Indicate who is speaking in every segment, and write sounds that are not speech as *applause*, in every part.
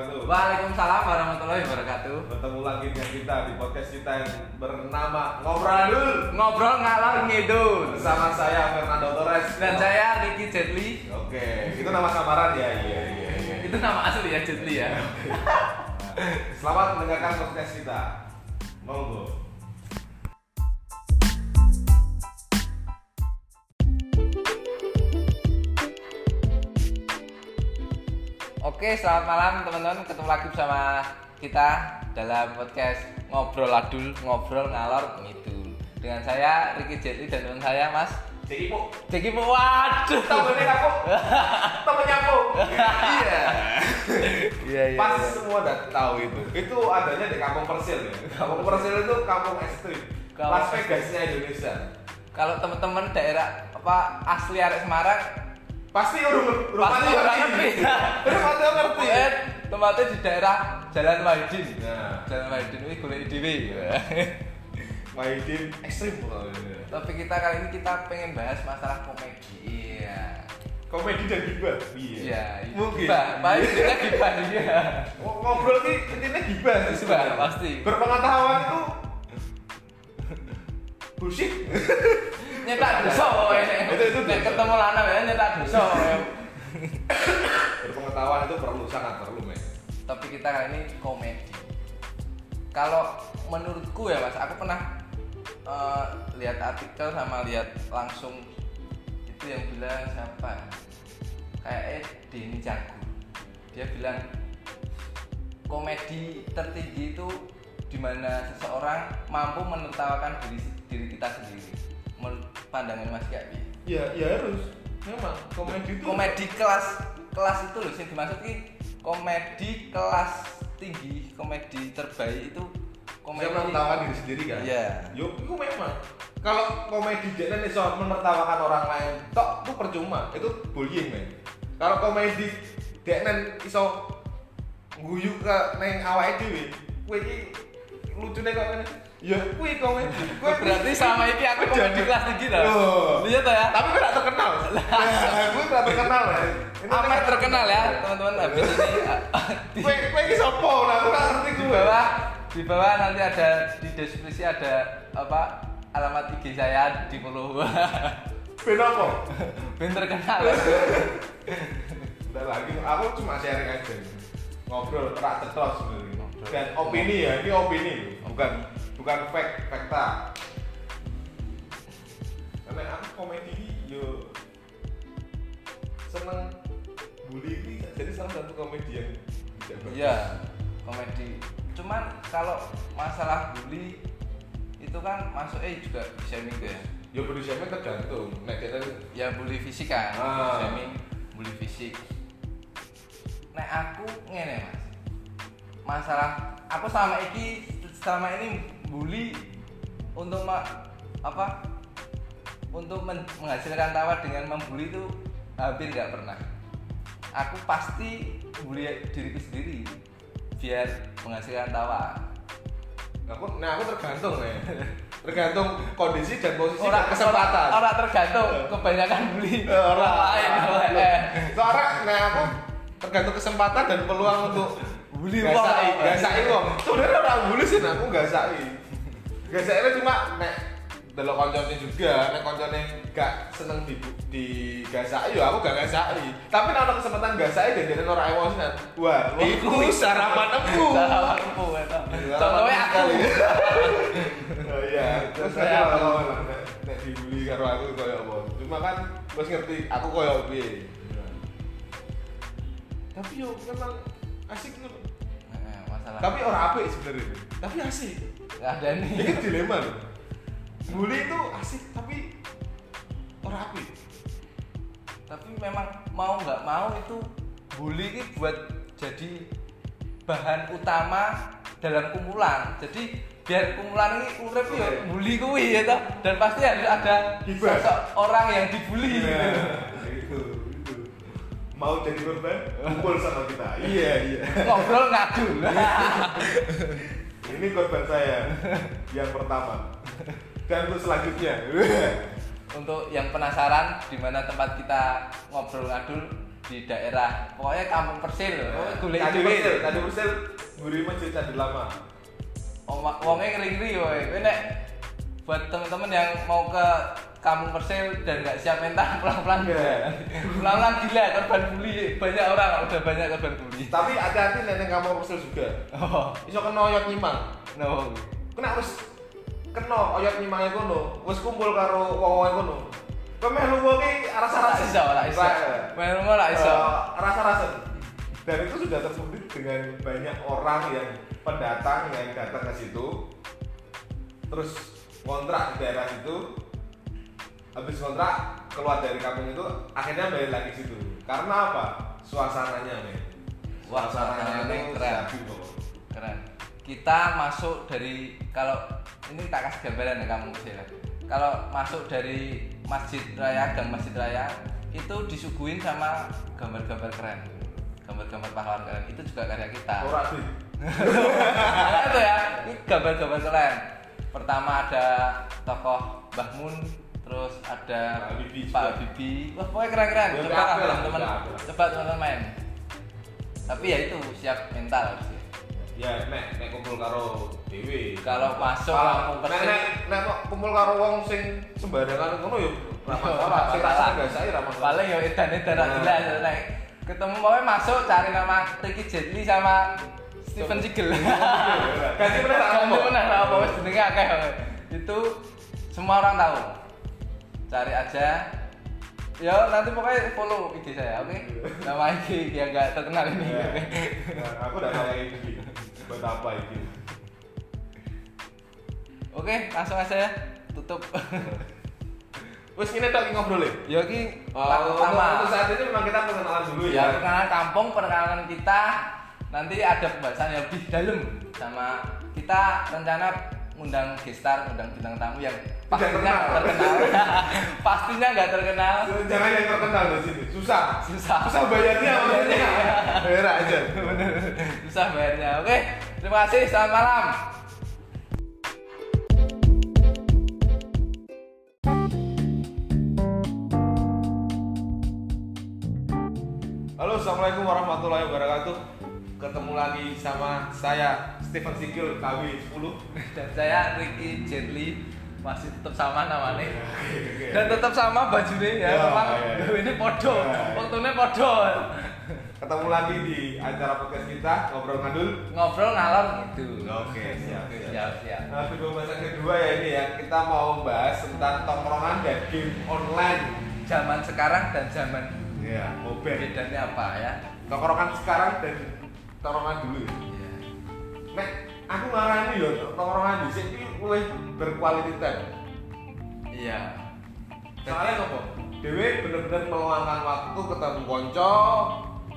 Speaker 1: Waalaikumsalam warahmatullahi wabarakatuh.
Speaker 2: Bertemu lagi dengan kita di podcast kita yang bernama Ngobrol Dul.
Speaker 1: Ngobrol ngalor ngidul
Speaker 2: Bersama saya Fernando Torres
Speaker 1: dan saya Ricky Jetli.
Speaker 2: Oke, itu nama samaran ya. Iya, iya, iya.
Speaker 1: Itu nama asli ya Jetli ya.
Speaker 2: Selamat mendengarkan podcast kita. Monggo.
Speaker 1: Oke, selamat malam teman-teman. Ketemu lagi bersama kita dalam podcast Ngobrol Adul, Ngobrol Ngalor Ngidul. Dengan saya Ricky Jetli dan teman saya Mas
Speaker 2: Jadi po,
Speaker 1: Jeki Waduh.
Speaker 2: temennya aku, temennya aku. Iya.
Speaker 1: *laughs* Iya, iya.
Speaker 2: Pas semua udah tahu itu. Itu adanya di kampung Persil ya. Kampung Persil itu kampung ekstrim.
Speaker 1: Kampung-
Speaker 2: Las Vegasnya Indonesia.
Speaker 1: Kalau teman-teman daerah apa asli arek Semarang,
Speaker 2: Pasti urut
Speaker 1: Pasti
Speaker 2: urutnya
Speaker 1: orang
Speaker 2: ngerti.
Speaker 1: ngerti.
Speaker 2: Urutnya ngerti.
Speaker 1: eh, tempatnya di daerah Jalan Wahidin.
Speaker 2: Nah.
Speaker 1: Jalan Wahidin ini golek dhewe.
Speaker 2: Maidin ekstrim pokoknya.
Speaker 1: Topik kita kali ini kita pengen bahas masalah komedi. Iya.
Speaker 2: Komedi dan gibah. Iya.
Speaker 1: Iya.
Speaker 2: Mungkin.
Speaker 1: Gibah. Paling kita gibah iya.
Speaker 2: Ngo- Ngobrol nih intinya gibah.
Speaker 1: Gibah, pasti.
Speaker 2: Berpengetahuan itu bullshit.
Speaker 1: Nyetak dosa pokoknya.
Speaker 2: Itu- itu
Speaker 1: Nek
Speaker 2: dosa.
Speaker 1: ketemu lanang ya nyetak dosa. pokoknya.
Speaker 2: Berpengetahuan itu perlu sangat perlu men.
Speaker 1: Topik kita kali ini komedi. Kalau menurutku ya Mas, aku pernah eh, lihat artikel sama lihat langsung itu yang bilang siapa? Kayak Denny Jago. Dia bilang komedi tertinggi itu dimana seseorang mampu menertawakan diri diri kita sendiri menurut pandangan Mas Kiai
Speaker 2: Ya, ya harus. Memang komedi itu
Speaker 1: komedi kelas kelas itu loh yang dimaksud ki komedi kelas tinggi komedi terbaik itu
Speaker 2: komedi.
Speaker 1: komedi
Speaker 2: menertawakan diri sendiri kan.
Speaker 1: Iya.
Speaker 2: Yo, itu memang. Kalau komedi jadi nih soal menertawakan orang lain, tok itu percuma. Itu bullying men. Kalau komedi deknen iso guyu ke neng awake dhewe, kowe iki lucune kok ngene. Ya kuwi komedi. Kowe
Speaker 1: berarti sama ini aku komedi
Speaker 2: Jadi-
Speaker 1: kelas tinggi dah
Speaker 2: Loh.
Speaker 1: lihat ya
Speaker 2: tapi gue gak terkenal. Nah, gue gak terkenal ya. Ini
Speaker 1: amat terkenal ya teman-teman habis ini ah, di
Speaker 2: Kowe kowe iki sapa? Lah aku gak ngerti
Speaker 1: di
Speaker 2: gue.
Speaker 1: bawah di bawah nanti ada di deskripsi ada apa alamat IG saya di follow *laughs*
Speaker 2: Ben apa?
Speaker 1: Ben terkenal
Speaker 2: Udah lagi aku cuma sharing aja. Ngobrol rak tetos sebenarnya.
Speaker 1: Ngobrol.
Speaker 2: Dan opini ya, ini opini bukan bukan fact, fakta. Karena aku komedi ini yo seneng bully ini jadi salah satu komedi yang tidak bagus.
Speaker 1: iya komedi cuman kalau masalah bully itu kan masuk eh juga shaming tuh ya
Speaker 2: Ya bully siapa tergantung. Nek kita
Speaker 1: ya bully fisik kan
Speaker 2: Ah.
Speaker 1: shaming bully fisik nek aku ngene mas masalah aku sama iki sama ini bully untuk ma- apa untuk men- menghasilkan tawa dengan membuli itu hampir nggak pernah aku pasti bully diriku sendiri biar menghasilkan tawa
Speaker 2: aku nah aku tergantung nih tergantung kondisi dan posisi dan kesempatan
Speaker 1: orang, orang tergantung kebanyakan bully
Speaker 2: Eh, orang
Speaker 1: lain eh.
Speaker 2: soalnya nah aku tergantung kesempatan dan peluang untuk
Speaker 1: Bully
Speaker 2: gasai
Speaker 1: wong.
Speaker 2: gasai wong sebenarnya orang bully sih nah, aku gasai gasai itu cuma nek delok koncone juga nek koncone gak seneng di di gasai ya aku gak gasai tapi nek ada kesempatan gasai dan jadi orang emosi nah wah itu sarapan aku
Speaker 1: Salah aku, itu. Contohnya aku.
Speaker 2: Iya. *laughs* Oh iya, terus saya apa? Nek- Nek dibully karo aku koyo apa? Cuma kan wis ngerti aku koyo piye. Tapi yo memang asik ngono.
Speaker 1: Nah, Masalah.
Speaker 2: Tapi ora apik sebenarnya. Tapi asik.
Speaker 1: Nggak ada nih.
Speaker 2: Ini kan dilema loh. Bully itu asik tapi ora apik.
Speaker 1: Tapi memang mau nggak mau itu bully ini buat jadi bahan utama dalam kumpulan. Jadi biar kumpulan ini urip ya
Speaker 2: Oke.
Speaker 1: bully kuwi ya toh. Dan pasti harus ada
Speaker 2: Hibah.
Speaker 1: seseorang yang dibully.
Speaker 2: Iya.
Speaker 1: Iya.
Speaker 2: itu. itu. Gitu, Mau jadi korban? Kumpul sama kita. Iya, iya.
Speaker 1: Ngobrol *laughs* ngadu.
Speaker 2: Ini korban
Speaker 1: *laughs*
Speaker 2: saya yang pertama. Dan untuk selanjutnya.
Speaker 1: Untuk yang penasaran di mana tempat kita ngobrol ngadul di daerah pokoknya kampung Persil lho. Pokoknya Oh, golek
Speaker 2: Candi
Speaker 1: dhewe.
Speaker 2: Persil, Candi Persil nguri masjid Candi Lama.
Speaker 1: Oma- Wongnya ngeri-ngeri woy. Kowe nek buat temen-temen yang mau ke kampung Persil dan nggak siap mental *laughs* pelan-pelan
Speaker 2: Iya.
Speaker 1: gila. pelan-pelan gila korban bully banyak orang udah banyak korban bully.
Speaker 2: Tapi hati-hati nek nang kampung Persil juga.
Speaker 1: Oh,
Speaker 2: Iso kena oyot nyimang.
Speaker 1: no.
Speaker 2: Kena wis kena oyot nyimange kono, wis kumpul karo wong-wong kono. Kowe melu wonge
Speaker 1: Ora
Speaker 2: rasa-rasa.
Speaker 1: iso, ora iso. Main rumah ora iso.
Speaker 2: Eh, rasa-rasa dan itu sudah terbukti dengan banyak orang yang pendatang yang datang ke situ terus kontrak di daerah situ habis kontrak keluar dari kampung itu akhirnya balik lagi ke situ karena apa suasananya men
Speaker 1: Wah, suasananya
Speaker 2: itu
Speaker 1: keren.
Speaker 2: sabi, Bro.
Speaker 1: Keren. Kita masuk dari kalau ini tak kasih gambaran ya kamu Sil. Kalau masuk dari Masjid Raya Gang Masjid Raya itu disuguhin sama gambar-gambar keren. Gambar-gambar pahlawan keren itu juga karya kita.
Speaker 2: ora sih
Speaker 1: Nah, itu ya, ini gambar-gambar keren. Pertama ada tokoh Mbah Mun, terus
Speaker 2: Pak
Speaker 1: ada
Speaker 2: Habibie
Speaker 1: Pak
Speaker 2: juga.
Speaker 1: Habibie. Wah, pokoknya keren-keren.
Speaker 2: Ya,
Speaker 1: Coba
Speaker 2: apa lah, apa
Speaker 1: teman-teman,
Speaker 2: lah.
Speaker 1: coba teman-teman main. Tapi ya itu siap mental harusnya.
Speaker 2: ya nek nek kumpul karo dewe
Speaker 1: Kalau masuk
Speaker 2: kalau
Speaker 1: kampung
Speaker 2: nek
Speaker 1: Persil.
Speaker 2: nek nek kok kumpul karo wong sing sembarangan ngono yo ra
Speaker 1: Yo,
Speaker 2: masalah
Speaker 1: ra
Speaker 2: sing
Speaker 1: masalah.
Speaker 2: rasa gak saya ra masalah
Speaker 1: paling ya edan edan nah.
Speaker 2: Nah.
Speaker 1: jelas ya, nek ketemu mau masuk cari nama Ricky Jetli sama Steven Seagal
Speaker 2: Ganti meneh tak apa?
Speaker 1: *laughs* ganti meneh tak apa wis jenenge akeh banget. itu semua orang tahu cari aja ya nanti pokoknya follow IG saya oke nama IG yang nggak terkenal ini
Speaker 2: Ya. Nah, aku udah kayak ini buat apa itu
Speaker 1: oke langsung aja ya tutup
Speaker 2: wes ini tak ngobrol ya
Speaker 1: ya ini part
Speaker 2: Oh,
Speaker 1: pertama
Speaker 2: untuk saat ini memang kita pengenalan dulu
Speaker 1: ya
Speaker 2: ya.
Speaker 1: perkenalan kampung perkenalan kita nanti ada pembahasan yang lebih dalam sama kita rencana ngundang gestar ngundang bintang tamu yang pastinya
Speaker 2: terkenal.
Speaker 1: nggak terkenal *laughs* pastinya nggak terkenal
Speaker 2: Jangan yang terkenal di sini, susah.
Speaker 1: Susah. Iya,
Speaker 2: Susah bayarnya maksudnya. Bayar aja.
Speaker 1: susah bayarnya oke terima kasih selamat malam
Speaker 2: Halo, assalamualaikum warahmatullahi wabarakatuh. Ketemu lagi sama saya Stephen Sigil KW 10.
Speaker 1: dan saya Ricky Jetli masih tetap sama namanya dan tetap sama bajunya ya
Speaker 2: Ya,
Speaker 1: memang
Speaker 2: ya.
Speaker 1: gawe *laughs* ini podo
Speaker 2: Ya.
Speaker 1: waktunya podo
Speaker 2: Ketemu lagi di acara podcast kita ngobrol ngadul.
Speaker 1: ngobrol ngalor gitu
Speaker 2: Oke, siap,
Speaker 1: Oke,
Speaker 2: siap.
Speaker 1: siap siap
Speaker 2: Nah, di pembahasan kedua ya ini ya kita mau bahas tentang tongkrongan dan game online.
Speaker 1: zaman sekarang dan zaman
Speaker 2: Ya, mobile.
Speaker 1: bedanya apa ya?
Speaker 2: Tongkrongan sekarang dan tongkrongan dulu. ya.
Speaker 1: Iya.
Speaker 2: Nek, aku ngarani yo tongkrongan dhisik iki luwih berkualitas.
Speaker 1: Iya.
Speaker 2: Soalnya apa? Dewe bener-bener meluangkan waktu ketemu konco,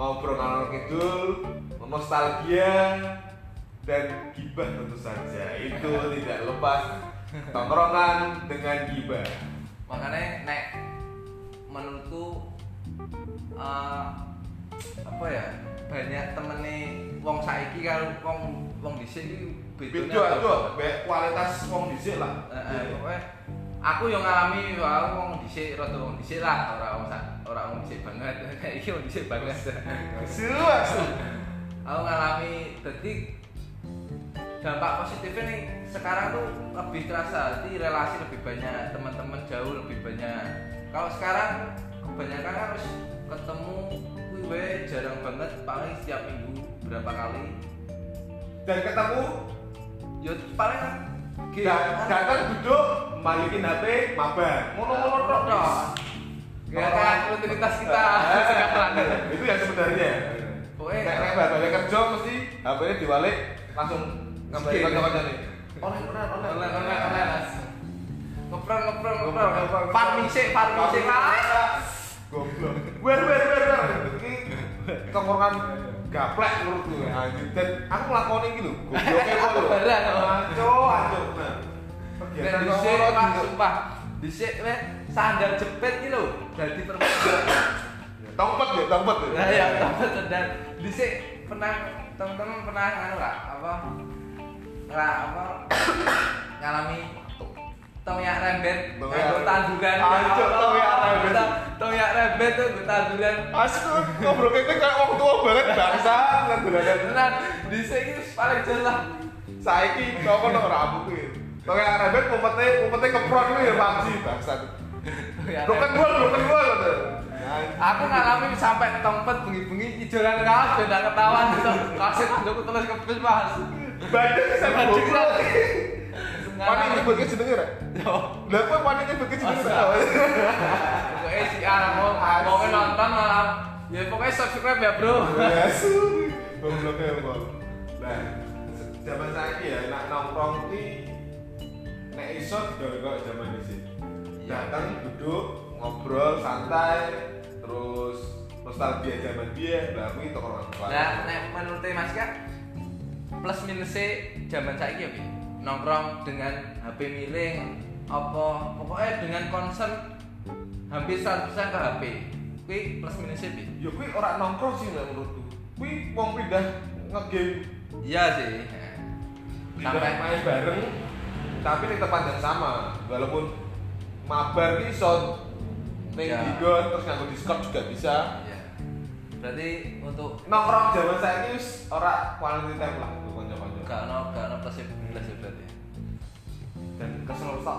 Speaker 2: ngobrol ngalor kidul, nostalgia dan gibah tentu saja. *laughs* Itu tidak lepas tongkrongan dengan gibah.
Speaker 1: Makanya nek menurutku eh, apa ya? Banyak temene wong saiki karo wong wong dhisik iki bedone
Speaker 2: Beda
Speaker 1: apa?
Speaker 2: aja, baik kualitas wong dhisik lah.
Speaker 1: Eh, eh, pokoknya aku yang ngalami aku wong dhisik rada wong dhisik lah, ora wong sa- ora wong dhisik banget. *laughs* Nek iki wong dhisik banget.
Speaker 2: Serius.
Speaker 1: aku ngalami detik dampak positifnya nih sekarang tuh lebih terasa jadi relasi lebih banyak teman-teman jauh lebih banyak kalau sekarang kebanyakan harus ketemu gue jarang banget paling setiap minggu berapa kali
Speaker 2: Dan ketemu
Speaker 1: ya paling gitu
Speaker 2: da- datang duduk, malikin HP, mabar. Iya. Ngono-ngono tok.
Speaker 1: Tok. ya kan rutinitas kita sekarang
Speaker 2: itu yang sebenarnya ya.
Speaker 1: Pokoknya-
Speaker 2: nek nek balik kerja mesti HP-nya diwalik langsung ngambari
Speaker 1: Skip.
Speaker 2: kanca-kanca nih online online online
Speaker 1: online online online ngeprang ngeprang ngeprang
Speaker 2: Ngeprang, ngeprang.
Speaker 1: farming sih farming sih Ah.
Speaker 2: goblok wer wer wer wer ini tongkrongan gaplek menurutku ya anjir dan aku ngelakoni gitu iki lho
Speaker 1: *laughs*
Speaker 2: gobloknya kok lho
Speaker 1: Iya. Barang, oh.
Speaker 2: anco anco nah
Speaker 1: Dan
Speaker 2: kegiatan
Speaker 1: dhisik
Speaker 2: tongkrongan gitu.
Speaker 1: Pak, sumpah. Dhisik weh sandal jepit iki lho dadi permasalahan.
Speaker 2: tompet ya tompet
Speaker 1: Nah ya, tambah sandal. Dhisik pernah teman-teman pernah anu lah apa? Lah apa? Ngalami toyak rembet,
Speaker 2: Toyak-
Speaker 1: nganggo tanduran.
Speaker 2: Ancuk, toyak rembet.
Speaker 1: Toyak rembet jambet tuh gue taburan
Speaker 2: Asik tuh ngobrol kita kayak orang tua banget bangsa lan bulanan.
Speaker 1: beneran di sini paling jelas lah
Speaker 2: Saiki kok ono rambut kuwi. Kok kayak rambut umpete umpete kepron kuwi ya PUBG bangsa. Broken wall, broken wall gitu.
Speaker 1: aku ngalami sampai tempat bengi-bengi ijolan kaos beda ketahuan gitu kasih tanduk terus ke bis mas
Speaker 2: Badan bisa
Speaker 1: Badan
Speaker 2: bobol. Panik
Speaker 1: Ngalami.
Speaker 2: nyebutke jenenge rek.
Speaker 1: Yo,
Speaker 2: Lah kok panik nyebutke jenenge
Speaker 1: Masa?
Speaker 2: rek.
Speaker 1: pokoknya si A mau ah, mau nonton malah ya pokoknya subscribe ya bro
Speaker 2: Asu. Gobloknya bol. Nah, zaman saiki ya nak nongkrong ki nek iso dol kok zaman iki.
Speaker 1: Iya.
Speaker 2: Datang duduk ngobrol santai terus nostalgia zaman biyen lah kuwi tokro
Speaker 1: nah nek menurut mas kak plus minusnya zaman saiki ya Bi? nongkrong dengan HP miring apa pokoknya dengan concern hampir 100% ke HP Kui plus minusnya bi
Speaker 2: Ya kuwi ora nongkrong sih lah menurutku. Kuwi wong pindah ngegame
Speaker 1: iya sih Iya,
Speaker 2: sampai
Speaker 1: sampai
Speaker 2: main bareng tapi di tempat yang sama walaupun mabar nih son neng
Speaker 1: Ya.
Speaker 2: gigon terus nganggo discord juga bisa
Speaker 1: Iya. berarti untuk
Speaker 2: nongkrong zaman saya ini wis ora quality time lah kanca-kanca
Speaker 1: gak no gak no plus minus ya berarti
Speaker 2: dan kesel sok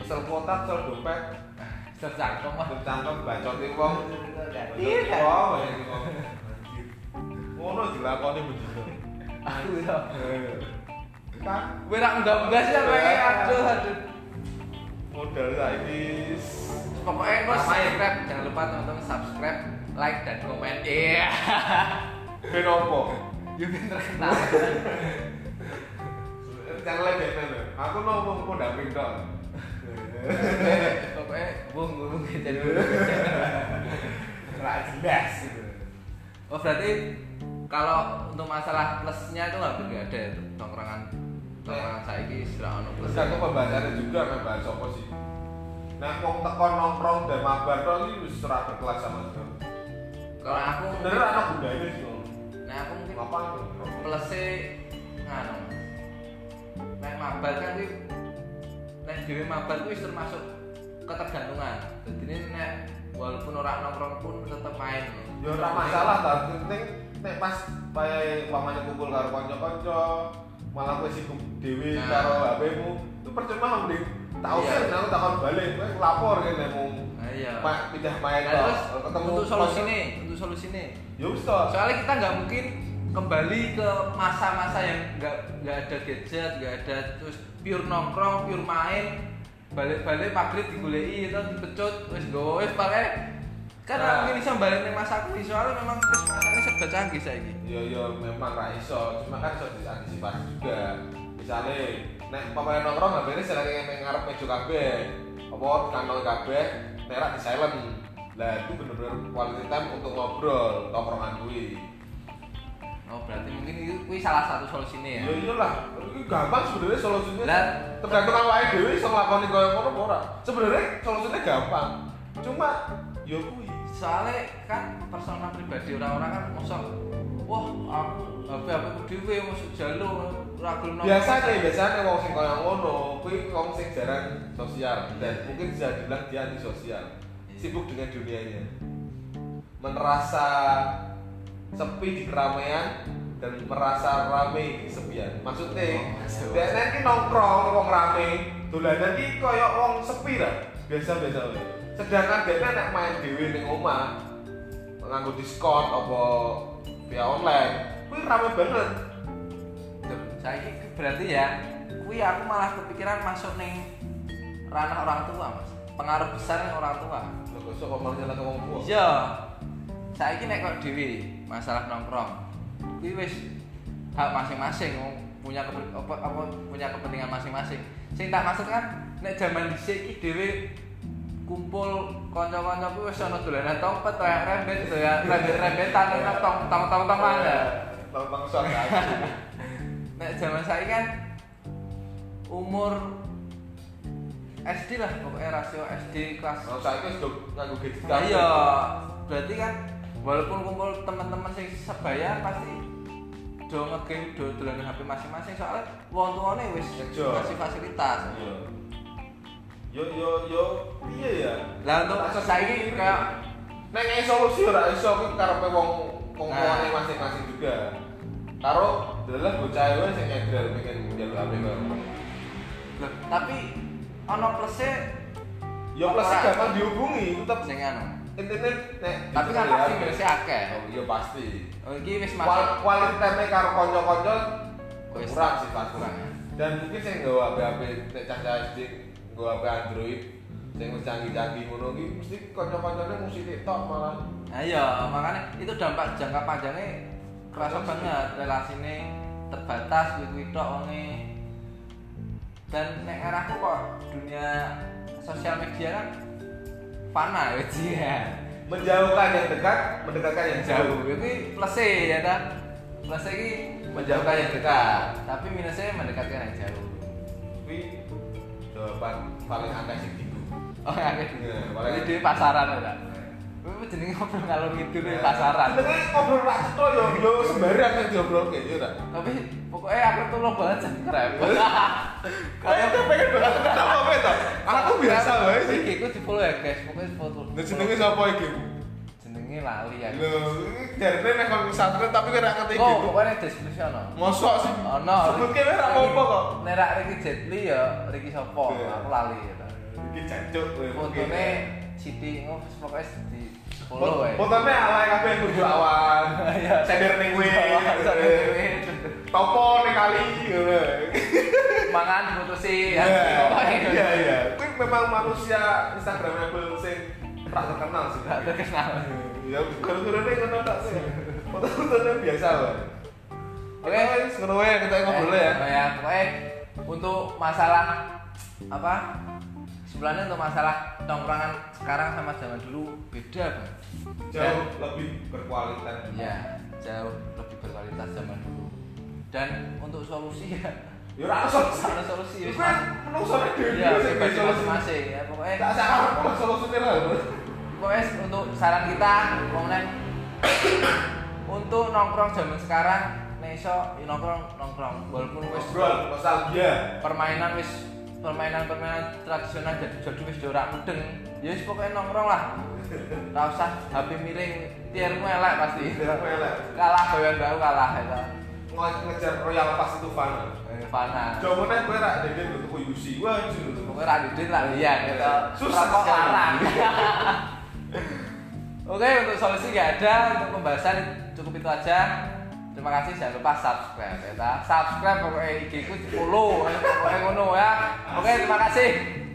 Speaker 2: kesel kuota kesel dompet
Speaker 1: terjangkau mah
Speaker 2: kesel cangkem bacot nih wong
Speaker 1: Iya.
Speaker 2: Bacot wong ya nih wong Anjir. ngono dilakoni begitu
Speaker 1: aku ya
Speaker 2: kan
Speaker 1: gue rak enggak enggak sih apa ini aduh aduh
Speaker 2: modal saiki
Speaker 1: pokoknya lo
Speaker 2: Apa ya?
Speaker 1: subscribe jangan lupa teman-teman subscribe like dan komen iya *laughs*
Speaker 2: ben opo
Speaker 1: yuk terkenal
Speaker 2: Jangan lagi ya, aku mau ngomong pendamping dong.
Speaker 1: pokoknya bung bung jadi
Speaker 2: Rak jelas.
Speaker 1: oh berarti kalau untuk masalah plusnya itu nggak nggak ada ya tuh tongkrongan tongkrongan saya ini sudah ono plus
Speaker 2: Terus aku pembahasannya juga nggak bahas apa sih. Nah, wong tekon nongkrong dan mabar dong ini wis ora berkelas sama sekali.
Speaker 1: kalau aku
Speaker 2: Bener anak budaya sih. Om.
Speaker 1: nah aku mungkin
Speaker 2: Ngapain nongkrong?
Speaker 1: plusnya nganu nek mabar kan kuwi nek dhewe mabar kuwi wis termasuk ketergantungan jadi ini nek walaupun orang nongkrong pun tetep main
Speaker 2: Ya ora masalah ta, penting nek pas bae pamane kumpul karo kanca-kanca malah kowe sibuk dhewe
Speaker 1: Nah.
Speaker 2: karo HP-mu. Itu percuma mending tak
Speaker 1: Iya.
Speaker 2: usir aku takon balik, kowe lapor kene mau
Speaker 1: nah, Ah, iya
Speaker 2: Pak pindah main
Speaker 1: Nah,
Speaker 2: toh.
Speaker 1: terus
Speaker 2: ketemu
Speaker 1: untuk solusi nih untuk solusi nih
Speaker 2: Ya wis toh.
Speaker 1: soalnya kita nggak mungkin kembali ke masa-masa yang nggak nggak ada gadget nggak ada terus pure nongkrong pure main balik-balik maghrib digulei itu dipecut wis go wis pakai
Speaker 2: Nah.
Speaker 1: kan nah. mungkin bisa balik nih masa aku soalnya memang terus masanya serba canggih saya ini
Speaker 2: Ya ya memang ra iso, cuma kan iso diantisipasi juga. Misale nek pemain nongkrong habene sering nang ngarep meja kabeh. Apa kanal kabeh nek ra di silent. Lah itu bener-bener quality time untuk ngobrol, nongkrongan kuwi.
Speaker 1: oh berarti mungkin itu, itu salah satu solusinya
Speaker 2: Ya
Speaker 1: ya
Speaker 2: iyalah, itu gampang sebenarnya solusinya.
Speaker 1: Lah.
Speaker 2: tergantung awake dhewe iso nglakoni koyo ngono apa ora. Sebenarnya solusinya gampang. Cuma ya kuwi.
Speaker 1: soalnya kan personal pribadi orang-orang kan mosok wah aku HP HP ku dhewe mosok jalo ragil nongkrong
Speaker 2: biasanya biasanya wong sing kaya ngono kuwi wong sing jarang sosial dan mungkin bisa dibilang dia antisosial sibuk dengan dunianya merasa sepi di keramaian dan merasa rame di kesepian maksudnya
Speaker 1: Oh,
Speaker 2: dia nanti nongkrong wong rame dolanan ki kaya wong sepi lah biasa biasa wae sedangkan dia kan nek main dhewe ning omah nganggo diskon apa via online kuwi rame banget
Speaker 1: saya berarti ya kui aku malah kepikiran masuk neng ranah orang tua mas pengaruh besar neng orang tua
Speaker 2: Lho kok sok malah nyalahke wong tua.
Speaker 1: iya saya nek kok dewi masalah nongkrong kui wis hak masing-masing wong punya kepen- apa, apa punya kepentingan masing-masing sing tak maksud kan nek zaman dhisik iki dhewe kumpul kanca-kanca kuwi wis ana dolanan tompet kayak rembet gitu ya rembet-rembetan enak tong tong tong tong mana
Speaker 2: Bang sok ya. aku.
Speaker 1: Nek zaman saya kan umur SD lah pokoknya rasio SD kelas.
Speaker 2: Kalau saya itu sudah nganggo gadget
Speaker 1: Nah,
Speaker 2: kabeh.
Speaker 1: iya, berarti kan walaupun kumpul teman-teman sing sebaya pasti do ngegame do dolanan HP masing-masing soalnya wong tuane wis
Speaker 2: Ngejo.
Speaker 1: kasih fasilitas.
Speaker 2: Iya. Yo yo yo piye ya?
Speaker 1: Lah untuk
Speaker 2: Rasa
Speaker 1: saya
Speaker 2: sendiri.
Speaker 1: kayak
Speaker 2: Nek ngai solusi ora iso kuwi karepe wong ngomongane
Speaker 1: Nah.
Speaker 2: masing-masing juga. Karo adalah bocah ae sing nyadar pengen njaluk HP kok.
Speaker 1: Loh, tapi ono plusnya
Speaker 2: Ya plus
Speaker 1: Ora.
Speaker 2: gampang dihubungi tetep
Speaker 1: sing anu.
Speaker 2: intine nek
Speaker 1: Tapi kan
Speaker 2: dicekel
Speaker 1: pasti
Speaker 2: HP.
Speaker 1: minusnya akeh.
Speaker 2: Oh, ya pasti.
Speaker 1: Oh, iki wis masuk.
Speaker 2: Kual- Quality time karo kanca-kanca
Speaker 1: Wis.
Speaker 2: kurang sih pasti.
Speaker 1: Kurang, ya.
Speaker 2: Dan mungkin sing nggawa HP-HP nek cah-cah SD nggawa HP Android sing wis canggih-canggih ngono ki mesti kanca-kancane mesti tiktok malah.
Speaker 1: Nah, iya, makanya itu dampak jangka panjangnya kerasa
Speaker 2: Terus.
Speaker 1: banget relasinya terbatas kuwi-kuwi tok wonge. Dan nek ngarahku kok dunia sosial media kan fana ya Ci, ya. *laughs*
Speaker 2: Menjauhkan yang dekat, mendekatkan yang jauh.
Speaker 1: Jauh kuwi plusnya ya ta. Plusnya iki
Speaker 2: Menjauhkan yang dekat.
Speaker 1: tapi minusnya mendekatkan yang jauh.
Speaker 2: Tapi jawaban paling aneh sih gitu.
Speaker 1: Oh, akeh.
Speaker 2: Iya, malah-
Speaker 1: Jadi dhewe pasaran ya ora. Kuwi jenenge ngobrol ngalor ngidul
Speaker 2: Iya.
Speaker 1: ya, pasaran.
Speaker 2: Sebenarnya ngobrol rak cetok yo yo sembarang yang diobrolke yo ta.
Speaker 1: tapi pokoknya aku tuh lo banget subscribe *laughs*
Speaker 2: Kayak
Speaker 1: kayak
Speaker 2: tuh pengen banget kenapa apa itu? Aku biasa wae sih.
Speaker 1: Iki aku di follow ya guys pokoknya foto
Speaker 2: Nah jenenge sapa iki?
Speaker 1: jenenge lali ya
Speaker 2: Lho, ini jarine nek kon pesantren tapi kira ngerti
Speaker 1: kok
Speaker 2: gitu.
Speaker 1: pokoknya deskripsi ono
Speaker 2: Mosok sih.
Speaker 1: ono
Speaker 2: Sebutke wae rak apa kok.
Speaker 1: nerak Ricky Jetli ya Ricky Sopo
Speaker 2: Iya.
Speaker 1: aku lali ya
Speaker 2: Iki jancuk kowe.
Speaker 1: fotonya Siti ngono pokoknya di follow ya
Speaker 2: Fotonya ala kabeh kudu awan.
Speaker 1: *laughs* Iya.
Speaker 2: Sender ning
Speaker 1: *laughs* Sorry,
Speaker 2: kuwi.
Speaker 1: weh.
Speaker 2: Topo ning kali ngono.
Speaker 1: mangan foto sih ya
Speaker 2: Iya, iya,
Speaker 1: pokoknya
Speaker 2: iya. Kuwi memang manusia Instagramable sing tak terkenal sih.
Speaker 1: gak terkenal
Speaker 2: Ya gara-garane ngono tak sih. Foto-fotone biasa loh.
Speaker 1: Oke.
Speaker 2: Oke, wis ngono wae kita ngobrol ya.
Speaker 1: Eh, ya, pokoknya untuk masalah apa? Sebenarnya untuk masalah tongkrongan sekarang sama zaman dulu beda banget.
Speaker 2: Jauh lebih berkualitas.
Speaker 1: Ya,
Speaker 2: Iya.
Speaker 1: jauh lebih berkualitas zaman dulu. Dan untuk solusi ya,
Speaker 2: Ya ora iso.
Speaker 1: ada solusi ya.
Speaker 2: Kuwi menungsone dhewe
Speaker 1: Ya,
Speaker 2: sing
Speaker 1: bebas
Speaker 2: iso solusi.
Speaker 1: masing-masing ya.
Speaker 2: Tak
Speaker 1: Pokoknya,
Speaker 2: salah kok solusine lah.
Speaker 1: pokoknya untuk saran kita, komen *coughs* untuk nongkrong zaman sekarang, neso nongkrong nongkrong walaupun wis
Speaker 2: Ngobrol nostalgia.
Speaker 1: permainan wis permainan permainan tradisional jadi jadi wis jorak mudeng ya wis pokoknya nongkrong lah nggak usah HP miring tiermu elek pasti
Speaker 2: Tiermu elek.
Speaker 1: kalah bayan bau kalah ya kan?
Speaker 2: Nge- Ngejar Royal Pass itu fana.
Speaker 1: Eh, fana
Speaker 2: Jawabannya gue rak dede lu tuku UC. Wah, jujur lu
Speaker 1: pokoknya radidin lah iya gitu
Speaker 2: Susah
Speaker 1: Rokok
Speaker 2: sekali.
Speaker 1: larang *laughs* oke untuk solusi gak ada untuk pembahasan cukup itu aja terima kasih jangan lupa subscribe ya ta. subscribe pokoknya IG ku di follow pokoknya ngono ya oke terima kasih